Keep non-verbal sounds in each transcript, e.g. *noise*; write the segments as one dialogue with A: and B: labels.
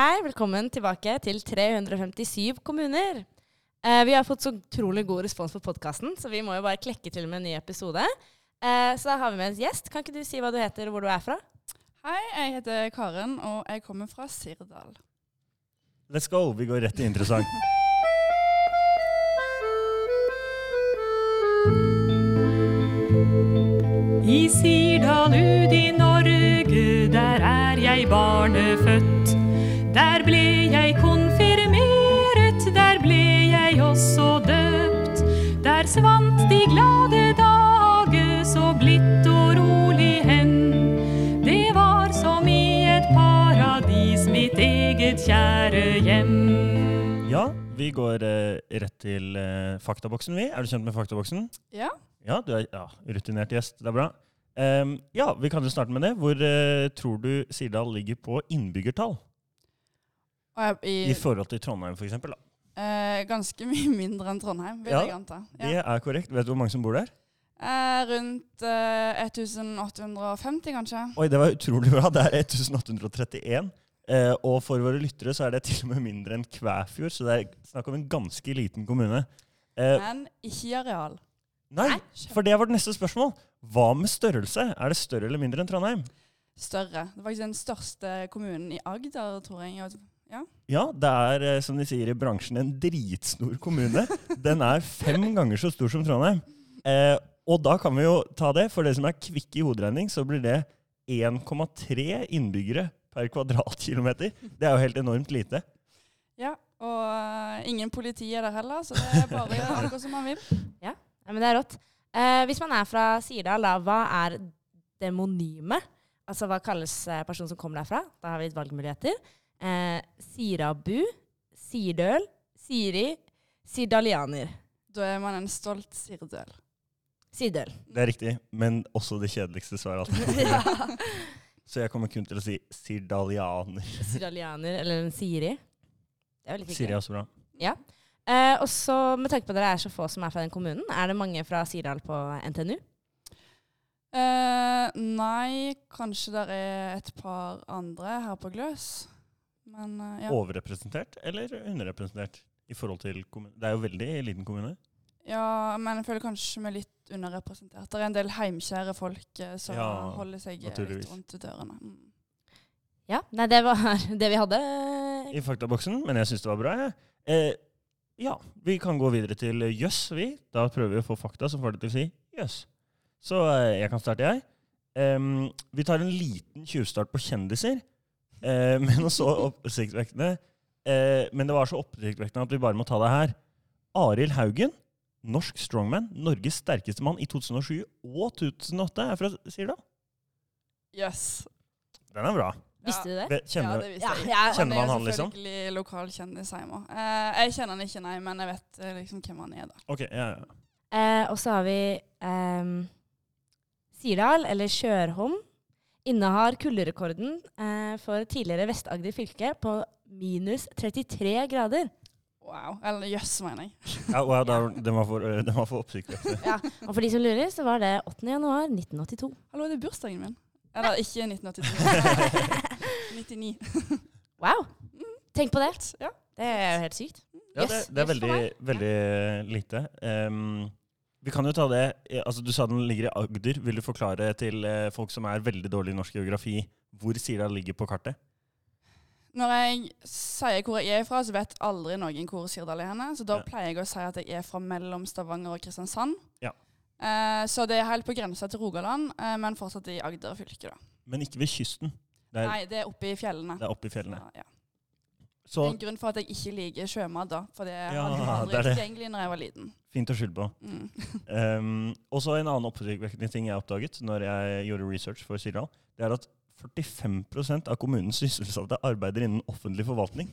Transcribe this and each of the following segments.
A: Velkommen tilbake til 357 kommuner. Eh, vi har fått så utrolig god respons på podkasten, så vi må jo bare klekke til med en ny episode. Eh, så da har vi med en gjest. Kan ikke du si hva du heter og hvor du er fra?
B: Hei, jeg heter Karen, og jeg kommer fra Sirdal.
C: Let's go! Vi går rett til introsang.
D: I Sirdal ut i Norge, der er jeg barnefødt. Der ble jeg konfirmeret, der ble jeg også døpt. Der svant de glade dager, så blidt og rolig hen. Det var som i et paradis, mitt eget kjære hjem.
C: Ja, vi går eh, rett til eh, faktaboksen, vi. Er du kjent med faktaboksen?
B: Ja,
C: Ja, du er ja, rutinert gjest. Det er bra. Ehm, ja, vi kan jo starte med det. Hvor eh, tror du Sirdal ligger på innbyggertall?
B: og jeg er i,
C: I forhold til Trondheim, f.eks.? da?
B: eh, ganske mye *laughs* mindre enn Trondheim, vil
C: Ja,
B: jeg anta. Ja.
C: Det er korrekt. Vet du hvor mange som bor der?
B: Eh, rundt eh, 1850, kanskje.
C: Oi, det var utrolig bra. Det er 1831. Eh, og for våre lyttere så er det til og med mindre enn Kvæfjord, så det er snakk om en ganske liten kommune. Eh,
B: Men ikke i areal.
C: nei, for det var det neste spørsmål. Hva med størrelse? Er det større eller mindre enn Trondheim?
B: Større. Det er faktisk den største kommunen i Agder, tror jeg. Og-
C: Ja, det er, eh, som de sier i bransjen, en dritstor kommune. Den er fem ganger så stor som Trondheim. Eh, og da kan vi jo ta det. For dere som er kvikke i hoderegning, så blir det 1,3 innbyggere per kvadratkilometer. Det er jo helt enormt lite.
B: Ja, og eh, ingen politi er der heller, så det *laughs* er bare å gjøre som man vil.
A: Ja, men det er rått. Eh, hvis man er fra Sirdal, da, hva er demonyme? Altså hva kalles eh, personen som kommer derfra? Da har vi et valgmuligheter. Eh, Sirabu, Sirdøl, Siri, Sirdalianer.
B: Da er man en stolt sirdøl.
A: Sirdøl.
C: Det er riktig, men også det kjedeligste svaret. alltid.
A: Ja.
C: Så jeg kommer kun til å si sirdalianer.
A: Siralianer, eller en Siri. Det er jo litt hyggelig.
C: Siri er også bra.
A: Eh, og så, med tanke på at dere er så få som er fra den kommunen, er det mange fra Sirdal på NTNU?
B: Eh, nei, kanskje det er et par andre her på Gløs. Men eh, ja.
C: Overrepresentert eller underrepresentert? I forhold til kommun- Det er jo veldig liten kommune.
B: Ja, men jeg føler kanskje vi er litt underrepresentert. Det er en del heimkjære folk eh, som
C: Ja,
B: holder seg eh,
C: naturligvis.
B: litt rundt dørene. Mm.
A: Ja. Nei, det var *laughs* det vi hadde.
C: i faktaboksen, men jeg syns det var bra. jeg. Eh, ja, vi kan gå videre til eh, jøss, vi. Da prøver vi å få fakta som får det til å si jøss. Så eh, jeg kan starte, jeg. Em, vi tar en liten tjuvstart på kjendiser, eh, *laughs* men, også oppsiktsvekkende, eh, men det var så oppsiktsvekkende at vi bare må ta det her. Arild Haugen, norsk strongman, Norges sterkeste mann i 2007 og 2008, er fra Sirdal.
B: Yes.
C: Den er bra.
A: Visste du det?
C: Ve-
B: Ja,
C: Kjenner,
B: det visste jeg.
A: ja.
C: Kjenner man
B: er
C: han, liksom?
B: Selvfølgelig lokal kjendis hjemme. Eh, jeg kjenner han ikke, nei, men jeg vet eh, liksom hvem han er, da.
C: Ok, ja, ja.
A: Eh, og så har vi ehm, Sirdal, eller Sjørholm, innehar kulderekorden eh, for tidligere Vest-Agder fylke på minus 33 grader.
B: Wow. Eller jøss, mener jeg.
C: ja wow, da, den var for, eh, den var for oppsiktsvekkende.
A: Og for de som lurer, så var det 8. januar 1982.
B: Hallo, det er bursdagen min. Eller ikke 1982.
C: *laughs*
B: 99.
A: Wow! Tenk på det.
B: Ja.
A: Det er jo helt sykt.
C: Ja,
A: Yes,
C: det, det er
A: yes for
C: veldig, veldig eh, lite. Ehm, vi kan jo ta det eh, altså Du sa den ligger i Agder. Vil du forklare til eh, folk som er veldig dårlig i norsk geografi, hvor Sira ligger på kartet?
B: Når jeg sier hvor jeg er fra, så vet aldri noen hvor Sirdal er henne. Så da
C: Ja.
B: pleier jeg å si at jeg er fra mellom Stavanger og Kristiansand.
C: Ja.
B: Eh, så det er helt på grensa til Rogaland, eh, men fortsatt i Agder fylke, da.
C: Men ikke ved kysten. Det er,
B: Nei, det er oppe i fjellene.
C: det er oppe i fjellene.
B: Ja, ja. Det
C: Så
B: er en grunn for at jeg ikke liker sjømat, da. For det
C: Ja,
B: hadde jeg aldri
C: det er det.
B: tilgjengelig når jeg var liten.
C: fint å skylde på.
B: Mm.
C: Um, og så en annen oppsiktsvekkende ting jeg oppdaget når jeg gjorde research for Sirdal, det er at 45 av kommunens sysselsatte arbeider innen offentlig forvaltning.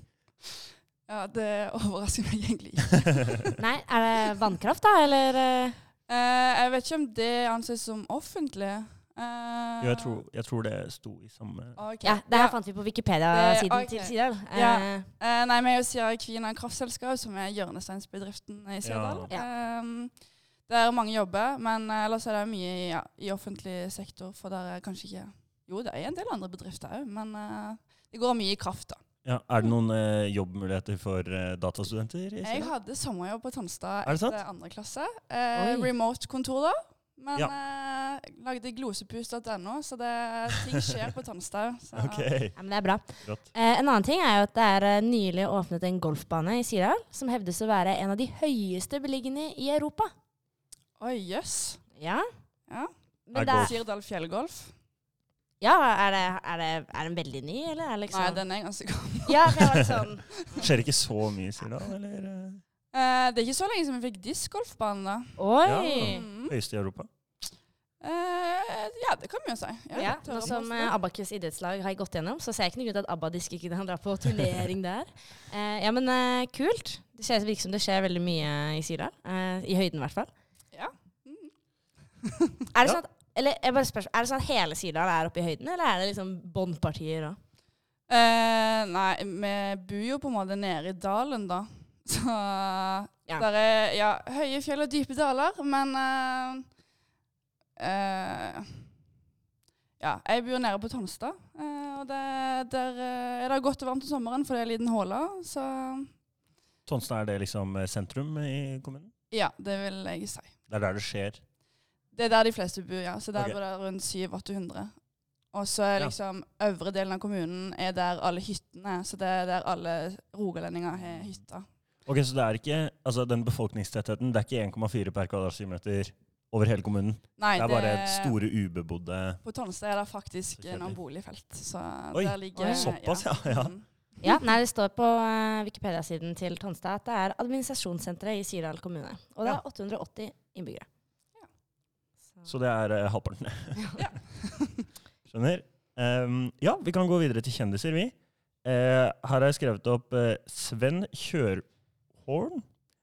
B: Ja, det overrasker meg egentlig ikke.
A: Nei, er det vannkraft, da, eller? eh?
B: Eh, jeg vet ikke om det anses som offentlig. Eh,
C: Jo, jeg tror, jeg tror det sto i samme
B: ok.
A: Ja, det her
B: Ja.
A: fant vi på Wikipedia-siden
B: Det- ok.
A: til Sirdal.
B: Ja.
A: Eh,
B: Eh, nei, vi er jo Sierra Kvina kraftselskap, som er hjørnesteinsbedriften i Sirdal.
A: Ja.
B: Ehm, der mange jobber, men eh, ellers er det mye i, ja, i offentlig sektor. For der er kanskje ikke Jo, det er en del andre bedrifter òg, men eh, det går mye i kraft, da.
C: Ja, er det noen eh, jobbmuligheter for eh, datastudenter? i
B: Jeg
C: Kina?
B: hadde sommerjobb på Tonstad
C: Er det sant?
B: etter andre klasse. Eh,
A: Oi.
B: Remote-kontor, da. Men eh, lagde glosepus.no, så det, ting skjer på Tonstad. Så,
C: *laughs* Ok,
A: Ja, men det er bra.
C: rått.
A: Eh, en annen ting er jo at det er eh, nylig åpnet en golfbane i Sirdal som hevdes å være en av de høyeste beliggende i Europa.
B: Oi, jøss.
A: Ja.
B: Ja.
A: Men
C: Er
A: det
C: golf-
A: er,
B: Sirdal fjellgolf.
A: ja, er, det, er, det, er den veldig ny, eller? Er det liksom
B: Nei, den er ganske god.
A: Ja, for jeg var litt sånn
C: Skjer ikke så mye, sier han, eller? eh,
B: Eh, det er ikke så lenge siden vi fikk diskgolfbane, da.
A: Oi!
B: Mm.
C: Høyeste i Europa.
B: Eh, ja, det kan vi jo si.
A: Ja, Nå
B: tørre
A: som
B: påstå.
A: eh, Abakus idrettslag har gått gjennom, så ser jeg ikke noe grunn til at Abba disker ikke kan dra på turnering der. Eh, ja, men eh, kult. Det ser- virker som det skjer veldig mye i Sirdal. eh, I høyden, i hvert fall.
B: Ja. Mm.
A: Er det
C: Ja.
A: sånn at eller jeg bare spør, er det sånn at hele Sirdal er oppe i høyden, eller er det liksom båndpartier òg?
B: Eh, nei, vi bor jo på en måte nede i dalen, da. *laughs* Så
A: Ja.
B: der er ja, høye fjell og dype daler, men eh, eh, Ja, jeg bor nede på Tonstad, eh, og det, der eh, er det godt og varmt om sommeren, for det er en liten håle. Så
C: Tonsen, er det liksom eh, sentrum i kommunen?
B: ja, det vil jeg si.
C: Det er der det skjer.
B: Det er der de fleste bor, ja. Så der
C: Ok.
B: bor det rundt 700-800. Og så er
C: Ja.
B: liksom øvre delen av kommunen er der alle hyttene er. Så det er der alle rogalendinger har
C: Mm.
B: hytta.
C: Ok, så det er ikke, altså den befolkningstettheten, det er ikke 1,4 per kvadratkilometer over hele kommunen.
B: Nei,
C: Det er bare store ubebodde.
B: På Tonstad er det faktisk
C: Så kjedelig.
B: noen boligfelt. Så
C: Oi,
B: der ligger
A: Oi.
C: såpass, ja, ja.
B: Mm.
A: Ja, nei, det står på eh, Wikipedia-siden til Tonstad at det er administrasjonssenteret i Sirdal kommune. Og det
C: Ja.
A: er 880 innbyggere.
B: Ja.
C: Så det er
A: *laughs*
C: eh, halvparten.
B: Ja.
C: *laughs* Skjønner. Ehm, ja, vi kan gå videre til kjendiser, vi. Eh, her har jeg skrevet opp eh, Sven Kjørhorn.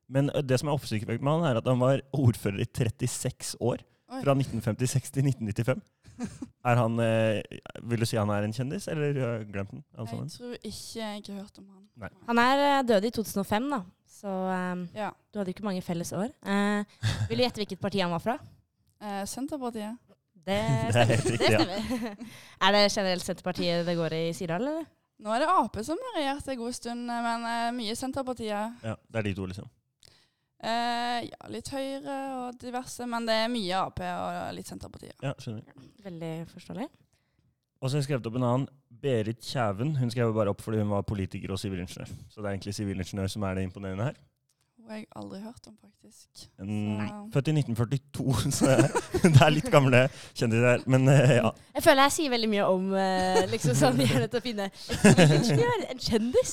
C: Men eh, det som er oppsiktsvekkende med han, er at han var ordfører i 36 år.
B: Oi.
C: Fra 1956 til
A: *laughs*
C: 1995. Er han, eh, vil du si han er en kjendis, eller har jeg glemt den? alle
B: Jeg
C: sammen?
B: tror ikke jeg har hørt om han.
C: Nei.
A: Han er eh, død i 2005, da. Så eh,
B: Ja.
A: du hadde ikke mange felles år. Eh, vil du gjette hvilket parti han var fra?
B: Eh, Senterpartiet?
A: Det
C: *laughs* Det er
A: stemmer.
C: helt
A: Det,
C: riktig, ja.
A: stemmer. *laughs* er det generelt Senterpartiet det går i i Sirdal, eller?
B: Nå er det Ap som har regjert en god stund, men eh, mye Senterpartiet.
C: Ja, det er de to, liksom.
B: Eh, ja, litt Høyre og diverse, men det er mye Ap og litt Senterpartiet.
C: Ja, skjønner.
A: Veldig forståelig.
C: Og så har jeg skrevet opp en annen. Berit Kjæven. Hun skrev jeg bare opp fordi hun var politiker og sivilingeniør. Så det er egentlig sivilingeniør som er det imponerende her.
B: Hun har jeg aldri hørt om, faktisk.
C: En,
B: Nei.
C: født i 1942, *laughs* så det er litt gamle kjendiser her. Men eh, ja.
A: Jeg føler jeg sier veldig mye om eh, liksom sånn vi er nødt til å finne en sivilingeniør, en kjendis.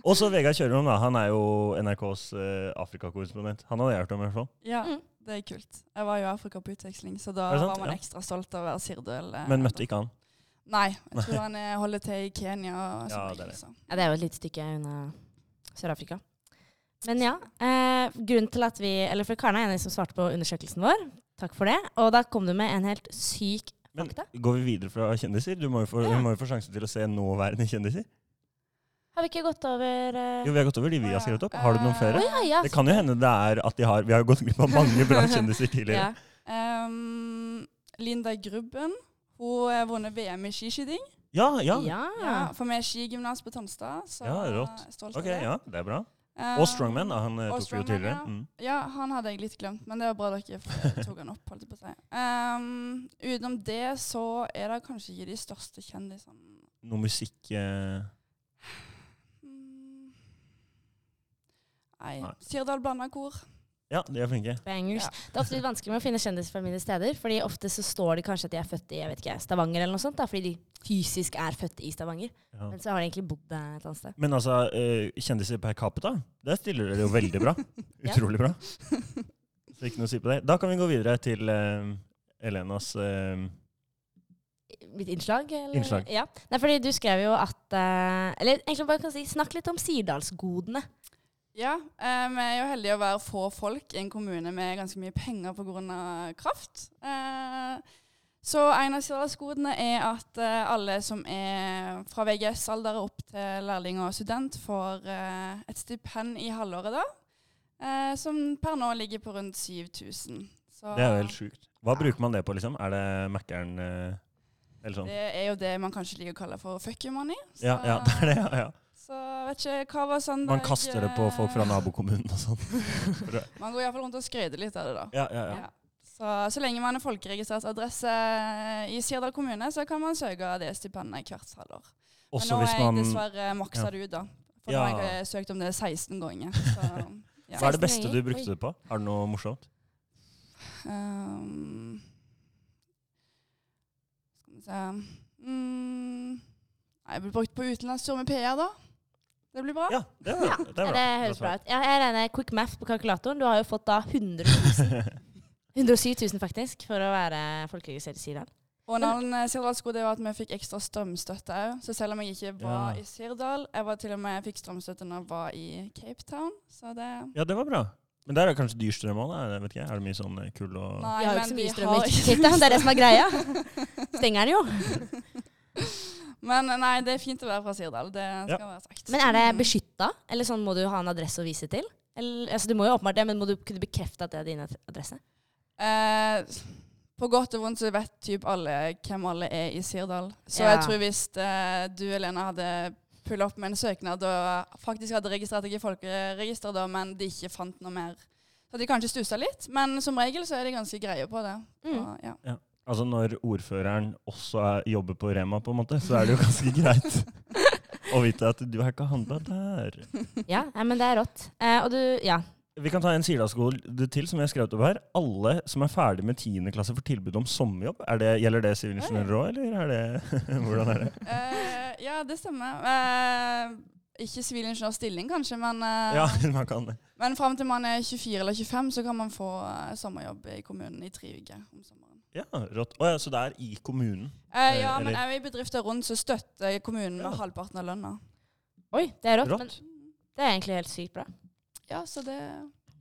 C: Og så Vegard Kjørholm, da. Han er jo NRKs eh, Afrikakorrespondent. Han hadde jeg hørt om, i hvert fall.
B: Ja,
A: Mm.
B: det er kult. Jeg var jo i Afrika på utveksling, så da
C: Er det sant?
B: var man
C: Ja.
B: ekstra stolt av å være sirdøl. eh,
C: Men møtte ikke han.
B: Nei, jeg tror han eh, holder til i Kenya. Og
C: Ja,
B: sånne
C: det er
B: ting, liksom.
C: det.
B: så.
A: Ja, det er jo et lite stykke unna Sør-Afrika. Men ja, eh, grunnen til at vi, eller for Karne er enig som svarte på undersøkelsen vår, takk for det, og da kom du med en helt syk
C: Men
A: fakta.
C: går vi videre fra kjendiser? Du må jo få,
A: Ja.
C: du må jo få sjansen til å se nåværende kjendiser.
A: Har vi ikke gått over eh,
C: Jo, vi har gått over de vi har skrevet opp. Har du noen
A: Å
C: flere?
A: ja, ja.
C: Det kan jo hende det er at de har Vi har jo gått glipp av mange bra kjendiser
A: ja.
C: tidligere.
B: Ehm, Linda Grubben. Hun har vunnet VM i skiskyting.
C: Ja, ja.
A: Ja.
B: Ja, for vi er skigymnas på Tonstad, så
C: Ja, rått.
B: jeg er stolt
C: Ok,
B: av det.
C: ja, det er bra.
B: Ehm,
C: Og Strongman, da. Han eh,
B: og
C: tok vi jo
B: Strongman,
C: tidligere.
B: ja.
C: Mm.
B: Ja, han hadde jeg litt glemt, men det var bra dere
C: *laughs*
B: f- tok han opp. holdt jeg på å si. Ehm, utenom det så er det kanskje ikke de største kjendisene.
C: Noe musikk eh,
B: Mm. Nei.
C: Nei.
B: Sirdal Blandakor.
C: Ja, de er flinke.
A: Bangers.
B: Ja.
A: Det er ofte litt vanskelig med å finne kjendiser fra mine steder, fordi ofte så står de kanskje at de er født i jeg vet ikke, Stavanger eller noe sånt, da, fordi de fysisk er født i Stavanger,
C: Ja.
A: men så har de egentlig bodd eh, et annet sted.
C: Men altså, eh, kjendiser per capita, der stiller dere jo veldig bra. Utrolig bra. Så ikke noe å si på det. Da kan vi gå videre til eh, Elenas eh,
A: mitt innslag? Eller?
C: Innslag.
A: Ja. Nei, fordi du skrev jo at eh, Eller egentlig bare kan si, snakk litt om sirdalsgodene.
B: Ja, eh, vi er jo heldige å være få folk i en kommune med ganske mye penger pga. kraft. Eh, så en av sirdalsgodene er at eh, alle som er fra VGS-alder og opp til lærling og student, får eh, et stipend i halvåret da, eh, som per nå ligger på rundt 7000. Så-
C: Det er jo helt sjukt. Hva bruker man det på, liksom? Er det Mækkern eh, Eller sånn.
B: Det er jo det man kanskje liker å kalle for fuck you money. Så,
C: Ja, ja, *laughs* det er det. Ja, ja.
B: så vet ikke hva var sånn eh,
C: Man kaster det på folk fra nabokommunen og sånn.
B: Man går iallfall rundt og skryter litt av det, da.
C: Ja, ja, ja.
B: Ja. Så, så lenge man er folkeregistrert adresse eh, i Sirdal kommune, så kan man søke av det stipendet hvert halvår. Men
C: Også
B: nå
C: hvis
B: er jeg
C: man
B: dessverre maksa det ut, da. For nå
C: Ja.
B: har jeg eh, søkt om det 16 ganger.
C: *laughs*
B: Så,
C: Hva er det beste
A: 16
C: du
A: ganger?
C: brukte det på? Har du noe morsomt?
B: ehm, skal vi se mm, Nei, Jeg blir brukt på utenlandstur med PR, da. Det blir bra.
C: Ja, det, er,
A: Ja,
C: det,
A: det,
C: er bra.
A: høres bra ut. Ja, jeg regner quick math på kalkulatoren. Du har jo fått da 100
C: *laughs*
A: 000. 107 000 faktisk, for å være folkeregistrert i Sirdal.
B: Og en annen Sirdalsgod var at vi fikk ekstra strømstøtte òg. Så selv om jeg ikke var
C: Ja.
B: i Sirdal, jeg var til og med fikk strømstøtte når jeg var i Cape Town. Så det
C: Ja, det var bra. Men der er det kanskje dyr strøm òg, jeg vet ikke. Er det mye sånn eh, kull og
B: Nei,
A: Vi har jo
B: men
A: ikke så
B: vi
A: mye strøm *laughs*
B: har
A: i
B: ikke
A: Cape Town, det er det som er greia.
B: *laughs* strøm.
A: Stenger den jo.
B: *laughs* Men nei, det er fint å være fra Sirdal. Det
C: Ja.
B: skal være sagt.
A: Men er det
B: Mm.
A: beskytta? Eller sånn må du ha en adresse å vise til? Eller, altså, du må jo åpenbart det, men må du kunne bekrefte at det er din ad- adresse?
B: Eh, på godt og vondt så vet typ alle hvem alle er i Sirdal. Så
A: Ja.
B: jeg tror hvis eh, du, Elena, hadde pulla opp med en søknad og faktisk hadde registrert deg i folkeregisteret, da, men de ikke fant noe mer Så hadde de kanskje stussa litt, men som regel så er de ganske greie på det.
A: Mm.
B: Og, ja.
C: Altså når ordføreren også er, jobber på Rema, på en måte, så er det jo ganske
B: *laughs*
C: greit å vite at du har ikke handla der.
A: Ja, nei, men det er rått. Eh, og du, ja.
C: Vi kan ta en Sirdalsskole til som jeg har skrevet opp her. Alle som er ferdig med 10. klasse får tilbud om sommerjobb. Er det, gjelder det sivilingeniører òg, eller er det *laughs* Hvordan er det?
B: *laughs* Eh, ja, det stemmer. Eh, ikke sivilingeniørstilling, kanskje, men, eh,
C: Ja, man kan det.
B: *laughs* men fram til man er 24 eller 25, så kan man få eh, sommerjobb i kommunen i tre uker om sommeren.
C: Ja, rått. Å ja, så det er i kommunen.
B: Eh,
C: Eh,
B: ja, men
C: eller-
B: er vi i bedrifter rundt, så støtter kommunen med
C: Ja.
B: halvparten av lønna.
A: Oi, det er rått. Men
C: Rått.
A: det er egentlig helt sykt bra.
B: Ja, så det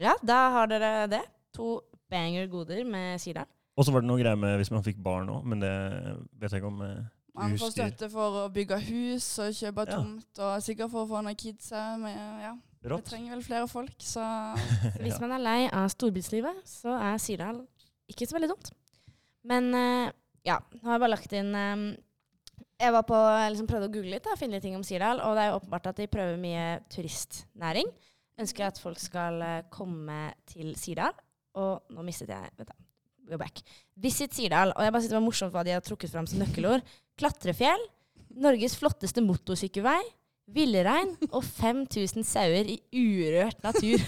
A: Ja, da har dere det. To banger goder med Sirdal.
C: Og så var det noe greier med hvis man fikk barn òg, men det vet jeg ikke om eh,
B: Man får
C: Husdyr.
B: støtte for å bygge hus og kjøpe
C: Ja.
B: tomt, og sikkert for å få noen kids òg. men Ja. Vi
C: Rått.
B: trenger vel flere folk, så
A: Så hvis man er lei av storbylivet, så er Sirdal ikke så veldig dumt. Men eh, ja, nå har jeg bare lagt inn eh, Jeg var på, liksom prøvde å google litt da, finne litt ting om Sirdal, og det er jo åpenbart at de prøver mye turistnæring. Ønsker at folk skal eh, komme til Sirdal. Og nå mistet jeg Vent, da. Go back. Visit Sirdal. Og jeg bare synes det var morsomt hva de har trukket fram som nøkkelord. Klatrefjell. Norges flotteste motorsykkelvei. Villrein. Og 5000 sauer i urørt natur.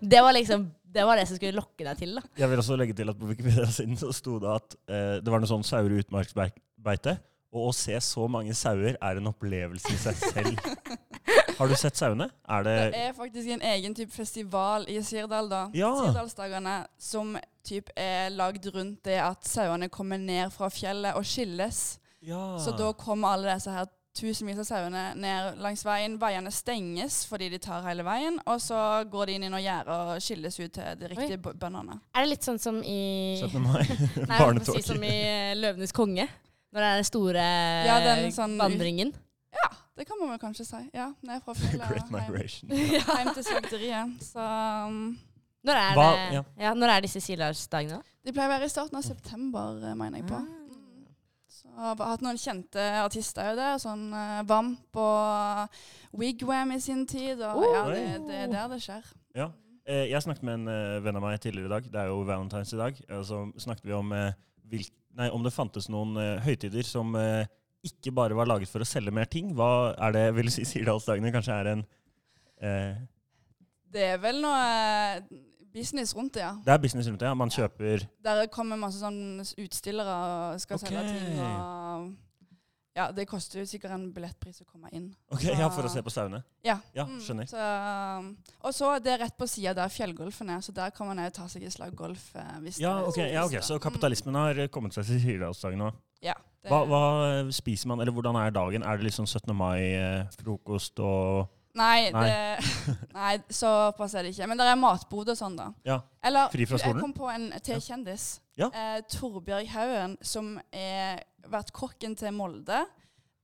A: Det var liksom det var det som skulle lokke deg til, da.
C: Jeg vil også legge til at på Wikipedia-siden så sto det at eh, det var noe sånn sauer i utmarksbeite, og å se så mange sauer er en opplevelse i seg selv. Har du sett sauene? Er det
B: Det er faktisk en egen type festival i Sirdal, da.
C: Ja.
B: Sirdalsdagene som typ er lagd rundt det at sauene kommer ned fra fjellet og skilles.
C: Ja.
B: Så da kommer alle disse her tusenvis av sauene ned langs veien. Veiene stenges fordi de tar hele veien, og så går de inn i noen gjerder og skilles ut til de riktige b- bøndene.
A: Er det litt sånn som i
C: 17. mai.
A: *laughs*
C: *laughs*
A: Nei, jeg holdt på å si
C: Barnetåke.
A: som i eh, 'Løvenes konge'? Når det er den store
B: Ja, den sånn-
A: vandringen.
B: Det kan man vel kanskje si. Ja, ned
C: *laughs*
B: fra fjellet
C: Great
B: og hjem,
C: migration.
A: *laughs*
B: hjem til slakteriet. Så um,
A: Når er, det,
C: Hva-
A: ja.
C: ja.
A: når er disse silardsdagene, da?
B: de pleier å være i starten av september, eh, mener jeg på.
A: Ah.
B: Så jeg har hatt noen kjente artister jo der, sånn eh, Vamp og Wigwam i sin tid. Og ja,
A: Oh.
B: det, det er der det skjer.
C: Eh, jeg snakket med en eh, venn av meg tidligere i dag, det er jo Valentine's i dag, eh, så snakket vi om, eh, hvil- nei, om det fantes noen eh, høytider som eh, ikke bare var laget for å selge mer ting. Hva er det, vil du si, Sirdalsdagene kanskje er en eh,
B: Det er vel noe eh, business rundt det, ja.
C: Det er business rundt det, ja. Man kjøper
B: Der kommer masse sånn utstillere og skal
C: Ok.
B: selge ting. Og ja, det koster jo sikkert en billettpris å komme inn.
C: Ok, ja, for å se på sauene.
B: Ja,
C: Ja,
B: mm,
C: skjønner.
B: Så, eh, og så det er rett på sida der fjellgolfen er, så der kan man jo ta seg et slag golf. eh, Hvis
C: Ja,
B: det er
C: ok,
B: sånn
C: ja,
B: lyst,
C: ok.
B: da.
C: Så kapitalismen har eh, kommet seg til Sirdalsdagen nå.
B: Mm, det-
C: Hva, hva eh, spiser man, eller hvordan er dagen? Er det liksom 17. mai-frokost og
B: Nei,
C: Nei. *laughs*
B: Det, nei, såpass er det ikke. Men det er matbod og sånn, da.
C: Ja.
B: Eller
C: Fri fra skolen?
B: jeg kom på en til kjendis.
C: Ja.
B: Eh, Torbjørg Haugen, som har vært kokken til Molde.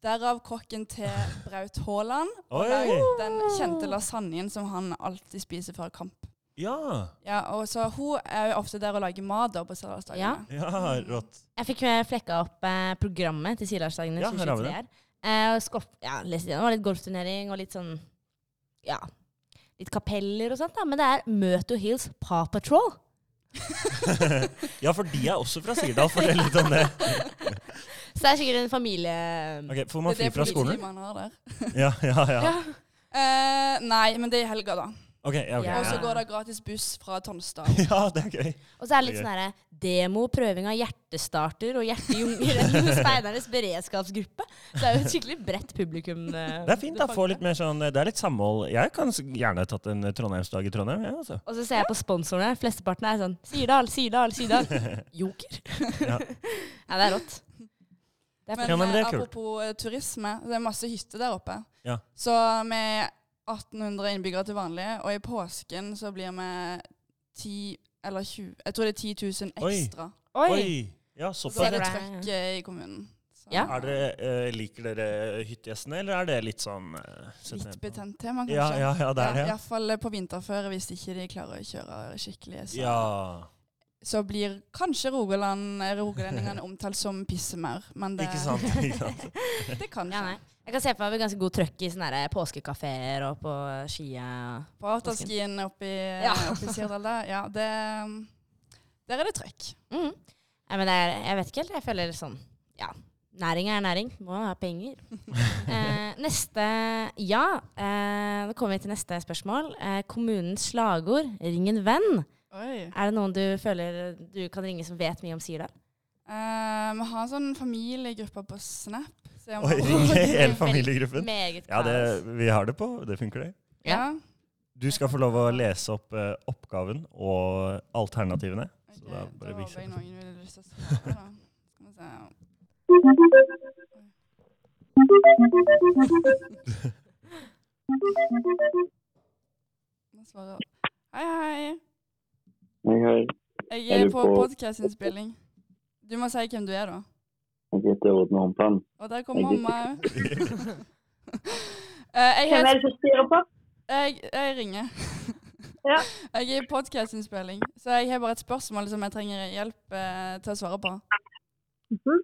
B: Derav kokken til Braut Haaland. Og
C: *laughs* Oi!
B: der- den kjente lasagnen som han alltid spiser før kamp.
C: Ja.
B: Ja, og så Hun er jo ofte der og lager mat da på sørlandsdagene.
A: Ja.
C: Ja, rått.
A: Jeg fikk eh, flekka opp eh, programmet til Silardsdagene
C: Ja, her har
A: 2023
C: vi det.
A: her. Eh, og skorp, ja, leste igjennom. Det var litt golfturnering og litt sånn Ja. Litt kapeller og sånt, da. Men det er Møto Hills Paw Patrol.
C: Ja, for de er også fra Sirdal. Fortell litt om det.
A: Så det er sikkert en familie...
C: Ok, Får
B: Det
C: man
B: er
C: fri
B: det
C: fra skolen?
B: politimannen har der.
C: Ja, ja, ja.
B: Eh, nei, men det er i helga, da.
C: Ok, ja, ok.
A: Ja.
B: Og så
C: Ja,
B: går det gratis buss fra Tonstad.
C: ja det er gøy.
A: Og så er det litt
C: Det
A: sånn
C: er
A: herre demo, prøving av hjertestarter og *laughs* hjertejunger i speidernes beredskapsgruppe. Så det er jo et skikkelig bredt publikum. eh,
C: Det er fint
A: du
C: da, få
A: fanger.
C: litt mer sånn, det er litt samhold. Jeg kan s- gjerne tatt en Trondheimsdag i Trondheim, jeg altså.
A: Og så ser jeg på sponsorene. Flesteparten er sånn Sirdal, Sirdal,
C: *laughs*
A: Sirdal. Joker. *laughs*
C: Ja.
A: ja. det er rått. Det er
B: Men,
C: Ja, men det er
B: eh,
C: kult.
B: apropos eh, turisme, det er masse hytter der oppe.
C: Ja.
B: Så med 1800 innbyggere til vanlig, og i påsken så blir vi 10 eller 20 Jeg tror det er 10 000
C: Oi.
B: ekstra.
C: Oi! Ja,
B: Så er
C: såpass.
B: det
A: Bra.
B: trøkk eh, i kommunen. Så,
A: Ja.
C: Er dere, eh, liker dere hyttegjestene, eller er det litt sånn... eh, sett ned
B: Litt
C: på?
B: betent tema, kanskje.
C: Ja, ja, ja, det er det.
B: I
C: ja.
B: hvert fall eh, på vinterføre, hvis ikke de klarer å kjøre skikkelig. Så,
C: Ja,
B: så blir kanskje Rogaland, eh, rogalendingene omtalt som pissemaur, men det,
C: ikke sant? Ikke sant?
B: *laughs* det kan
A: Ja,
B: skje.
A: nei. Jeg kan se for meg vi har ganske god trøkk i sånne her påskekaféer og på skia.
B: På afterskien oppe i,
A: Ja.
B: *laughs* oppe i Sirdal, der, ja, det, mm, der er det trøkk.
A: Mm. Nei, men det er, jeg vet ikke helt. Jeg føler sånn Ja. Næring er næring. Må ha penger. eh, neste Ja. Eh, nå kommer vi til neste spørsmål. Eh, kommunens slagord. Ring en venn.
B: Oi.
A: Er det noen du føler du kan ringe som vet mye om Sirdal?
B: Eh, vi har en sånn familiegruppe på Snap. så jeg må-
C: Oi, ringer *laughs* hele familiegruppen.
A: Meget
C: Ja, det,
A: kaos.
C: vi har det på, det funker det.
B: Ja.
C: Du skal få lov å lese opp eh, oppgaven og alternativene. Så
B: ok,
C: da
B: da
C: bare
B: håper
C: viser
B: jeg
C: jeg *laughs*
B: noen ville lyst til å svare, da. Skal vi se. Nå svarer Hei, hei.
E: Hei, hei.
B: Jeg
E: Er
B: er
E: du
B: på
E: på-
B: podkastinnspilling. Du må si hvem du er, da.
E: Jeg heter Odd Norpan.
B: Og der kom mamma òg. *laughs* jeg
F: Hvem
B: heter
F: er det som styrer på?
B: Jeg, jeg ringer.
F: Ja.
B: *laughs* Jeg er i podcastinnspilling, så jeg har bare et spørsmål som jeg trenger hjelp eh, til å svare på.
F: Mhm.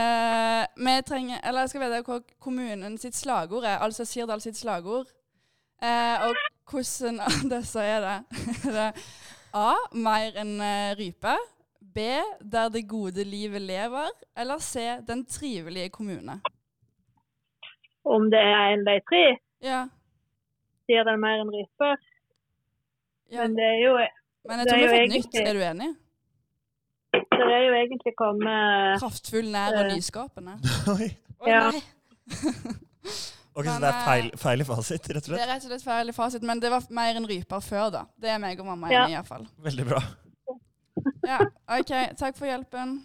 B: Eh, vi trenger, eller jeg skal vite hva kommunen sitt slagord er, altså Sirdal sitt slagord. Eh, og hvordan *laughs* av disse er det? Er det A. Mer enn eh, rype. B. Der det gode livet lever. Eller C. Den trivelige kommune.
F: Om det er en av de tre,
B: Ja.
F: sier den mer enn rype.
B: ja.
F: Men det er jo,
B: Men jeg
F: det
B: tror
F: er
B: vi har
F: jo
B: fått nytt.
F: egentlig-
B: Er du enig?
F: det er jo egentlig kommet
B: Kraftfull, nær og
F: Eh.
B: nyskapende.
C: Oi.
A: Oi,
F: Ja.
A: nei.
C: Ok, så
B: Men,
C: det er feil,
B: eh,
C: feil i fasit, rett og
B: Det
C: slett.
B: er rett og slett feil i fasit, men det var mer enn ryper før, da. Det er meg og mamma
F: Ja.
B: enig i, iallfall.
C: Veldig bra.
B: Ja, OK. Takk for hjelpen.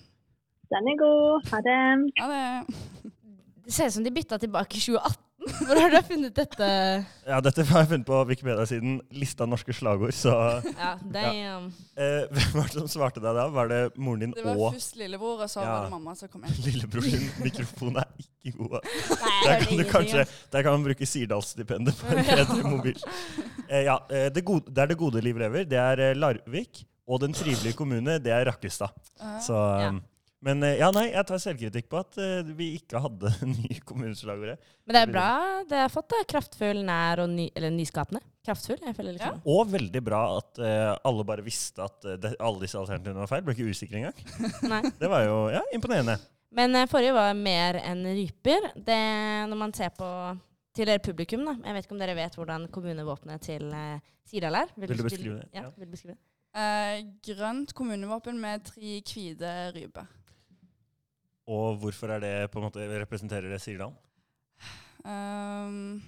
F: Den er god. Ha det.
B: Ha det.
A: Det ser ut som de bytta tilbake i 2018. *laughs* Hvor har dere funnet dette?
C: Ja, dette har jeg funnet på Wikipedia-siden Lista norske slagord, så
A: Ja, um, damn.
C: eh, *laughs* Hvem var det som svarte deg da? Var det moren din
B: Det var
C: og
B: først lillebror, og så
C: Ja.
B: var det mamma som kom inn.
C: *laughs* lillebror sin? Mikrofonen er ikke god. ass.
A: Nei, jeg
C: Der
A: hørte
C: kan, du
A: ingenting.
C: kanskje, der kan man bruke Sirdalsstipendet på en
A: *laughs*
C: bedre mobil. Eh, ja, eh, det gode, der det gode liv lever, det er eh, Larvik. Og den trivelige kommune, det er Rakkestad.
B: Ja.
C: Så,
A: Ah, Ja.
C: Men eh, ja, nei, jeg tar selvkritikk på at eh, vi ikke hadde *laughs* nye kommuneslagordet.
A: Men det er bra. Det har fått da, kraftfull, nær og ny, eller nyskapende. Kraftfull, jeg føler litt
B: Ja.
A: sånn.
C: Og veldig bra at eh, alle bare visste at eh, det, alle disse alternativene var feil. Ble ikke usikre engang.
A: Nei.
C: Det var jo ja, imponerende.
A: Men eh, forrige var mer enn ryper. Det, når man ser på til dere publikum, da. Jeg vet ikke om dere vet hvordan kommunevåpenet til eh, Sirdal er.
C: Vil du beskrive det?
A: Ja,
C: Ja.
A: vil du beskrive det?
B: Eh, grønt kommunevåpen med tre hvite ryper.
C: Og hvorfor er det på en måte representerer det Sirdal?
B: Um,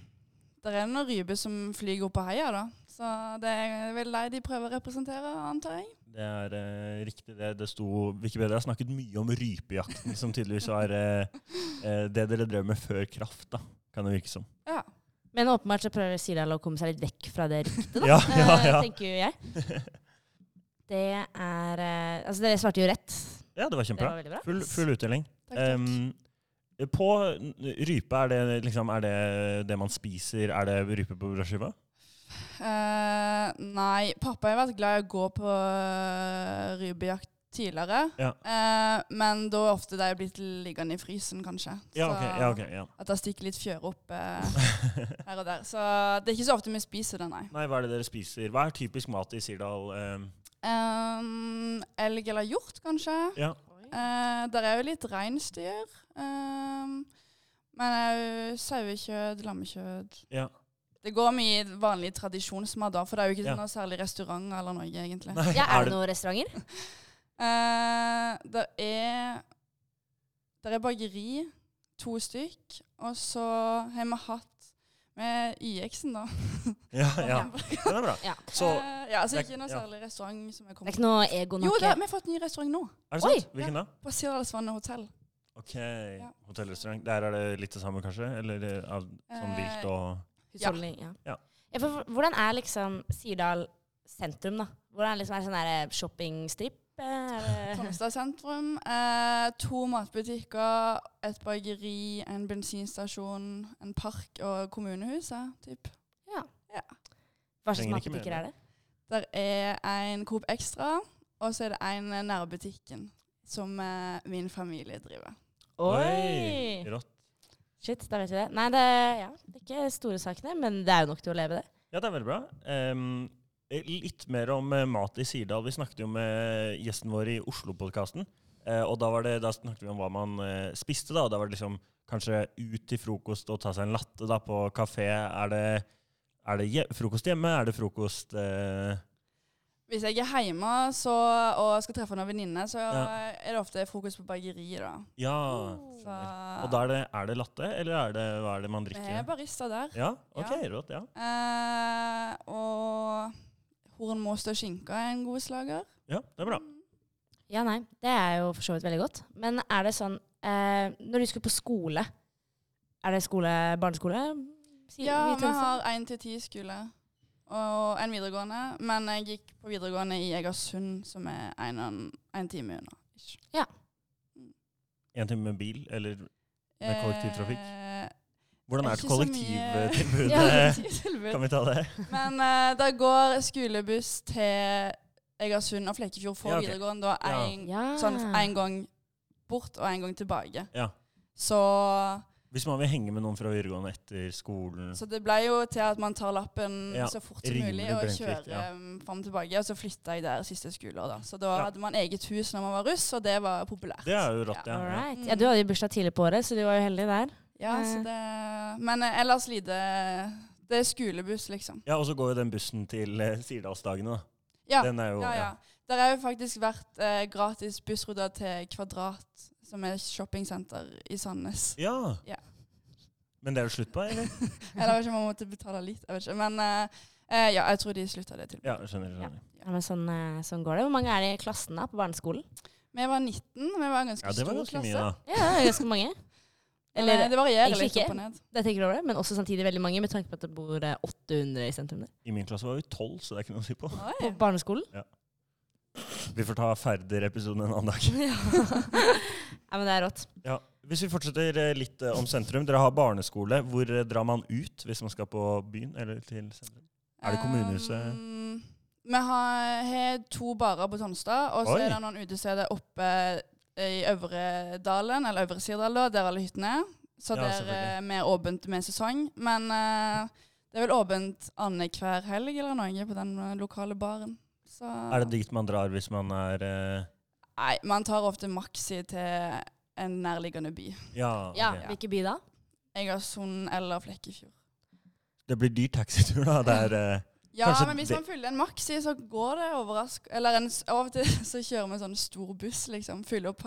B: der er noen ryper som flyger opp og heier, da. Så det er vel de de prøver å representere, antar jeg.
C: Det er eh, riktig det det sto Wikipedia har snakket mye om rypejakten, som tydeligvis var eh, eh, det dere drev med før Kraft, da, kan det virke som.
B: Ja.
A: Men åpenbart så prøver Sirdal å komme seg litt vekk fra det ryktet, da.
C: Ja, *laughs* ja,
A: eh,
C: ja.
A: *laughs* tenker jo
C: *laughs*
A: jeg. Det er eh, Altså, dere svarte jo rett.
C: Ja, det var
A: Det
C: kjempebra.
A: var veldig bra.
C: Full, full utdeling.
B: Takk, takk.
C: Em, på n- rype, er det liksom er det, det man spiser? Er det rype på brødskiva?
B: Eh, nei, pappa har vært glad i å gå på eh, rypejakt tidligere.
C: Ja.
B: Eh, men da har ofte de blitt liggende i frysen, kanskje. Så
C: Ja, ok. Ja, ok, ja.
B: At det stikker litt fjøre opp eh,
C: *laughs*
B: her og der. Så det er ikke så ofte vi spiser det, nei.
C: Nei, hva er det dere spiser? Hva er typisk mat i Sirdal? Um,
B: Um, elg eller hjort, kanskje.
C: ja.
B: Eh, der er jo litt reinsdyr. ehm, men òg sauekjøtt, lammekjøtt.
C: Ja.
B: Det går mye i vanlig tradisjonsmat, da, for det er jo ikke
C: Ja.
B: noe særlig restaurant eller noe, egentlig.
C: Nei,
A: Ja, er det
C: er det,
A: noen restauranter?
B: Eh, der er Der er bakeri, to stykk, og så har vi hatt med YX-en, da.
C: ja, *laughs* ja. Den er bra.
A: Ja.
C: Så
B: Eh, ja, altså
C: det-
B: ikke noe
C: ja.
B: særlig restaurant som er
A: Det er
B: kommet.
A: ikke noe Egon
B: Jo,
A: Akke?
B: da, vi har fått ny restaurant nå.
C: er det
A: Oi!
C: sant? Hvilken da?
B: På Sirdalsvannet hotell.
C: Ok, hotellrestaurant. Der er det litt det samme, kanskje? Eller eh, av sånn
B: Eh,
C: vilt og
A: Husholdning, ja.
C: Ja.
A: Ja, for hvordan er liksom Sirdal sentrum, da? Hvordan liksom er det sånn der shoppingstrip? eh, er det-
B: Tromsdal sentrum. Eh, to matbutikker, et bakeri, en bensinstasjon, en park og kommunehuset. Typ.
A: Hva slags
C: Trenger ikke
A: matbutikker
C: mer.
A: er det?
B: Der er en Coop Extra, og så er det en eh, nærbutikken som eh, min familie driver.
A: Oi!
C: rått.
A: Shit, da vet vi det. Nei, det, ja, det er ikke store sakene, men det er jo nok til å leve det.
C: Ja, det er veldig bra. Ehm, eh, litt mer om eh, mat i Sirdal. Vi snakket jo med eh, gjesten vår i Oslo-podkasten. eh, og da, var det, da snakket vi om hva man eh, spiste, da. Og da var det liksom kanskje ut til frokost og ta seg en latte da, på kafé. Er det, er det hje frokost hjemme? Er det frokost eh,
B: Hvis jeg er hjemme så, og skal treffe noen venninne, så eh,
C: Ja.
B: er det ofte fokus på bakeri. da.
C: Ja.
B: Så,
C: skjønner. Og da er det, er det latte, eller er det, hva er det man
B: vi er
C: drikker?
B: barista der.
C: Ja, ok, rått. Ja.
B: Eh, og hornmost og skinke er en god slager.
C: ja, det er bra.
A: Ja, nei, det er jo for så vidt veldig godt. Men er det sånn eh, Når du skulle på skole, er det skole, barneskole? Sier- sånn.
B: Ja,
A: i
B: vi
A: Tromsø?
B: har en til ti skole og en videregående. Men jeg gikk på videregående i Egersund, som er en, og en, en time unna. ish.
C: En time med bil, eller Med kollektivtrafikk?
B: Eh,
C: hvordan er
B: Ikke så
C: et
B: mye-
C: *laughs* kollektivtilbud?
B: Eh, ja, *laughs* tilbud.
C: Kan vi ta det?
B: Men eh, da går skolebuss til Egersund og Flekkefjord for
C: Ja, ok.
B: videregående. Og
C: Ja.
B: en,
A: ja.
B: sånn en gang bort og en gang tilbake.
C: Ja.
B: Så,
C: Hvis man vil henge med noen fra videregående etter skolen
B: så det ble jo til at man tar lappen
C: Ja,
B: så fort som
C: rimelig
B: mulig og
C: brennfritt,
B: kjører
C: ja.
B: um, fram og tilbake. Og så flytta jeg der siste skoleår, da. Så da
C: Ja.
B: hadde man eget hus når man var russ, og det var populært.
C: Det er jo rått, ja.
A: All
C: ja.
A: right. Ja, du hadde jo bursdag tidlig på året, så du var jo heldig der.
B: Ja, så det, men eh, ellers lite Det er skolebuss, liksom.
C: Ja, Og så går jo den bussen til eh, Sirdalsdagene, da.
B: Ja,
C: Den er jo
B: ja, ja.
C: ja.
B: Der har jo faktisk vært eh, gratis bussruter til Kvadrat, som er shoppingsenter i Sandnes.
C: Ja.
B: Ja.
C: Men det er det slutt på,
B: *laughs*
C: eller?
B: Eller jeg vet ikke om man måtte betale litt, jeg vet ikke. Men eh, eh, ja, jeg tror de slutta det til.
C: Ja, skjønner. skjønner.
A: Ja, men sånn, eh, sånn går det. Hvor mange er det i klassen da, på barneskolen?
B: Vi var 19, vi var en ganske
C: Ja, det var
B: stor
C: ganske
B: klasse.
C: mye, da.
A: Ja, det er ganske mange.
B: Eller,
A: Eller
B: det varierer
A: egentlig
B: litt
A: ikke.
B: opp og ned.
A: det tenker du over det, men også samtidig veldig mange, med tanke på at det bor eh, 800 i sentrum der.
C: I min klasse var vi tolv, så det er ikke noe å si på.
A: På barneskolen.
C: Vi får ta Færder-episoden en annen dag.
B: *laughs*
A: Ja, men det er rått.
C: Ja. Hvis vi fortsetter eh, litt eh, om sentrum. Dere har barneskole. Hvor eh, drar man ut hvis man skal på byen eller til sentrum? Er det kommunehuset?
B: Um, vi har, har to barer på Tonstad, og så
C: Oi.
B: er det noen utesteder oppe eh, i Øvre Dalen, eller Øvre Sirdal, da, der alle hyttene er. Så
C: Ja,
B: der eh,
C: selvfølgelig.
B: er mer åpent med sesong. Men eh, det er vel åpent annenhver helg eller noe på den eh, lokale baren. Så
C: Er det dit man drar hvis man er eh,
B: Nei, man tar ofte maxi til en nærliggende by.
C: Ja.
A: Ja,
C: ok.
A: Hvilken by da?
B: Egersund eller Flekkefjord.
C: Det blir dyr taxitur, da. Det er eh,
B: Ja,
C: Kanskje
B: men hvis
C: det-
B: man fyller en maxi, så går det overrask... Eller en, s- av og til *laughs* så kjører vi en sånn stor buss, liksom. Fyller opp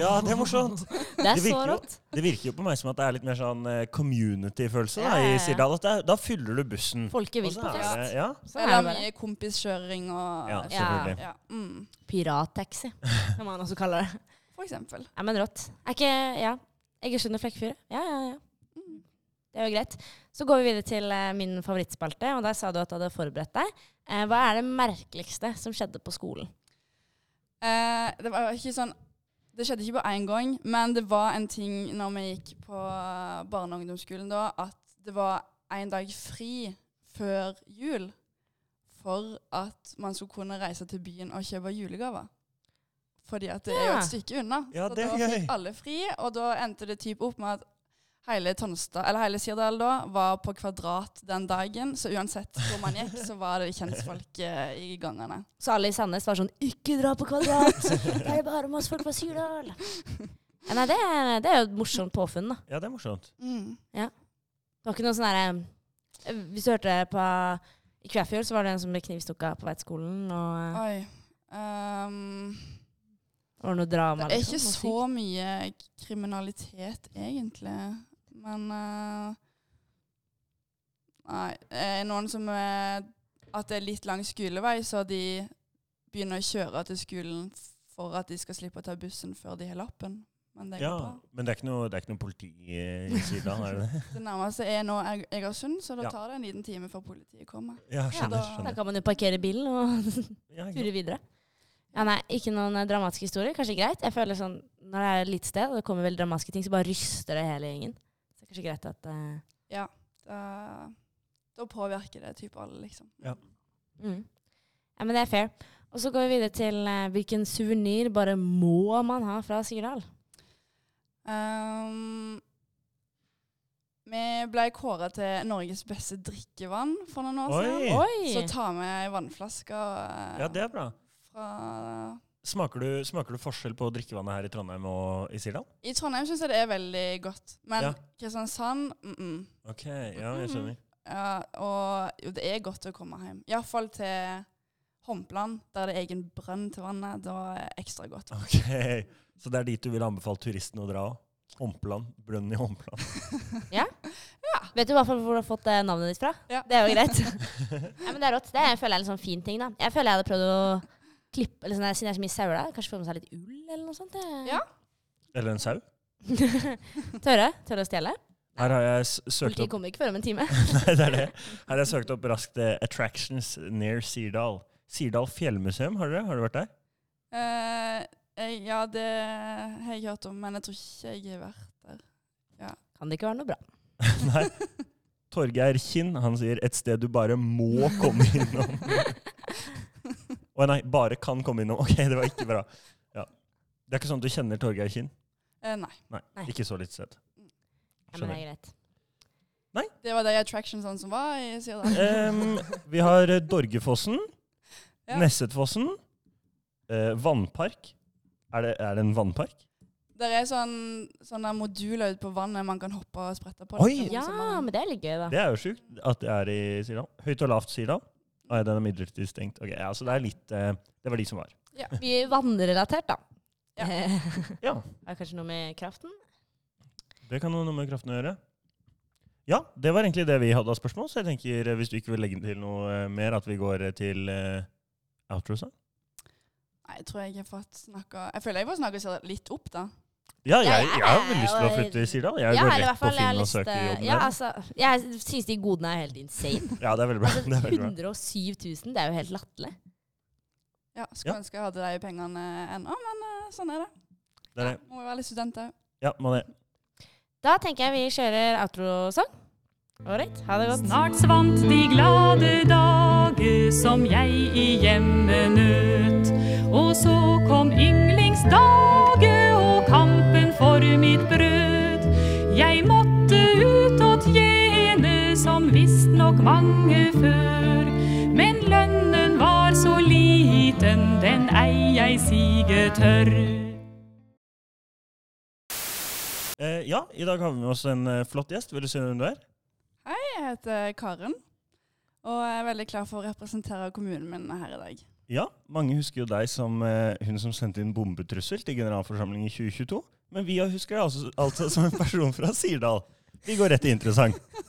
C: Ja, det er morsomt!
A: Det er så
C: Det virker jo-
A: rått.
C: Det virker jo på meg som at det er litt mer sånn eh, community-følelse da,
A: Ja, ja, ja.
C: i Sirdal. At det, er- da fyller du bussen.
A: Folket
C: Og
A: vil
C: så
A: på
C: er
A: fest.
C: det- Ja,
A: Sånn er
B: *laughs* Eller
A: det bare.
B: mye kompiskjøring og
C: ja,
A: Ja.
C: selvfølgelig.
B: ja, mm,
A: Pirattaxi, som man også kaller det.
B: For eksempel.
A: Ja, men rått. Er ikke Ja. Egersund og Flekkefjord. Ja, ja, ja.
B: Mm.
A: Det er jo greit. Så går vi videre til eh, min favorittspalte, og der sa du at du hadde forberedt deg. Eh, hva er det merkeligste som skjedde på skolen?
B: Eh, det var ikke sånn Det skjedde ikke på én gang, men det var en ting når vi gikk på eh, barne- og ungdomsskolen da, at det var en dag fri før jul. for at man skulle kunne reise til byen og kjøpe julegaver. Fordi at det er jo
A: Ja.
B: et stykke unna.
C: Ja,
B: så
C: det er
B: da
C: gøy.
B: fikk alle fri, og da endte det typ opp med at hele Tonstad, eller hele Sirdal da, var på kvadrat den dagen. Så uansett hvor man gikk, så var det kjentfolk eh, i gangene.
A: Så alle i Sandnes var sånn 'Ikke dra på Kvadrat! Det er bare masse folk fra Sirdal!' Ja, Nei, det er, det er jo et morsomt påfunn, da.
C: Ja, det er morsomt.
B: Mm.
A: Det var ikke noe sånn derre Hvis du hørte på I Kvæfjord, så var det en som ble knivstukket på vei til skolen, og eh,
B: Oi. Um,
A: det var noe drama.
B: det er ikke
A: liksom, og
B: så
A: sykt.
B: mye kriminalitet, egentlig. Men eh, Nei. eh, Noen som eh, At det er litt lang skolevei, så de begynner å kjøre til skolen for at de skal slippe å ta bussen før de har lappen. Men det går
C: Ja,
B: bra.
C: men det er ikke noe, det er ikke noe politi eh, i siden, er det det?
B: Det nærmeste er nå Eg- Egersund, så da
C: Ja.
B: tar det en liten time før politiet kommer.
A: Ja,
C: Ja,
A: da,
C: skjønner.
A: da
C: skjønner.
A: kan man jo parkere bilen og *laughs*
C: Ja, ikke
A: ture videre. Ja, nei, Ikke noen eh, dramatiske historier. Kanskje greit. Jeg føler sånn, Når det er et lite sted og det kommer veldig dramatiske ting, så bare ryster det hele gjengen. Så det er kanskje greit at eh,
B: Da, da påvirker det typ alle, liksom.
C: Ja.
A: Mm. Ja, men det er fair. Og så går vi videre til eh, hvilken suvenir bare må man ha fra Sirdal?
B: Ehm, vi ble kåra til Norges beste drikkevann for noen år
C: Oi.
B: siden.
A: Oi!
B: Så ta med vannflasker eh,
C: Ja, det er bra.
B: fra
C: Smaker du, smaker du forskjell på drikkevannet her i Trondheim og i Sirdal?
B: I Trondheim syns jeg det er veldig godt, men
C: Ja.
B: Kristiansand mm -mm.
C: Ok, ja, jeg skjønner.
A: Mm.
B: Ja, og jo, det er godt å komme hjem. Iallfall til Hompland, der det er egen brønn til vannet. Da er det ekstra godt.
C: Ok, Så det er dit du vil anbefale turistene å dra? Hompeland. Brønnen i Hompeland.
A: Vet du hva for, hvor du har fått eh, navnet ditt fra?
B: Ja.
A: Det er jo greit. ja, men det er rått. Det er- jeg føler jeg er en sånn fin ting. da. Jeg føler jeg hadde prøvd å klippe eller sånn, der, Siden det er så mye sauer der, kanskje få med seg litt ull eller noe sånt? eh.
B: Ja.
C: Eller en sau?
A: tørre? Tørre å stjele?
C: Her har jeg s- søkt
A: Politiet
C: opp *laughs*
A: kommer ikke før om en time.
C: Nei, det er det. Her har jeg søkt opp raskt eh, 'Attractions near Sirdal'. Sirdal fjellmuseum, har dere? Har dere vært der?
B: Eh, jeg, ja, det har jeg hørt om, men jeg tror ikke jeg har vært der.
A: Kan det ikke være noe bra?
C: Nei. Torgeir Kinn han sier 'et sted du bare må komme innom'. Å nei, bare kan komme innom. Ok, det var ikke bra. Ja. Det er ikke sånn at du kjenner Torgeir Kinn?
B: Eh, nei.
C: Nei,
A: Nei.
C: Ikke så lite sted.
A: Ja, men det er greit.
B: Det var de attractionsene som var i Sirdal.
C: Em, vi har eh, Dorgefossen,
B: Ja.
C: Nessetfossen, eh, vannpark. Er det, er det en vannpark?
B: Det er sånn, sånne moduler ute på vannet man kan hoppe og sprette på.
C: Oi!
B: liksom,
A: Ja,
B: som man-
A: men det er litt gøy, da.
C: Det er jo sjukt at det er i Sirdal. Høyt og lavt Sirdal. Nei, den er midlertidig stengt. Ok, ja, Så det er litt eh, Det var de som var.
A: Mye vannrelatert, da.
B: Ja.
A: *laughs*
C: Ja.
A: det er kanskje noe med kraften?
C: Det kan noe med kraften å gjøre. Ja, det var egentlig det vi hadde av spørsmål, så jeg tenker eh, hvis du ikke vil legge til noe eh, mer, at vi går eh, til eh, outro-sang.
B: Nei, jeg tror jeg har fått snakka Jeg føler jeg får snakka Sirdal litt opp, da.
A: Ja,
C: Ja, jeg,
A: ja,
C: jeg har veldig lyst til å
A: og-
C: flytte til Sirdal. Jeg
A: Ja, eller
C: går
A: i
C: rett
A: hvert
C: på
A: fall, jeg har
C: Finn og
A: lyst,
C: søker
A: eh,
C: jobb
A: Ja,
C: der.
A: altså, jeg syns de godene er helt insane.
C: *laughs* Ja, det er veldig bra.
A: Altså,
C: Det er veldig bra.
A: 107 000, det er jo helt latterlig.
B: Ja, Skulle
C: Ja.
B: ønske jeg hadde de pengene ennå, men eh, sånn er det.
C: Det er det.
B: Må jo være litt student òg.
C: Ja, må det.
A: Da tenker jeg vi kjører outro-sang. Ålreit, ha det godt.
D: Snart svant de glade dager som jeg i hjemmet nøt. Og så kom yndlingsdager og kampen for mitt brød. Jeg måtte ut og tjene som visstnok mange før. Men lønnen var så liten, den ei jeg sige tørr.
C: Eh, ja, i dag har vi med oss en eh, flott gjest. Vil du si hvem du er?
B: Jeg heter Karen, og jeg er veldig klar for å representere kommunen min her i dag.
C: Ja, mange husker jo deg som eh, hun som sendte inn bombetrussel til generalforsamlingen i 2022. Men vi husker deg altså, altså som en person fra Sirdal. Vi går rett til interessant.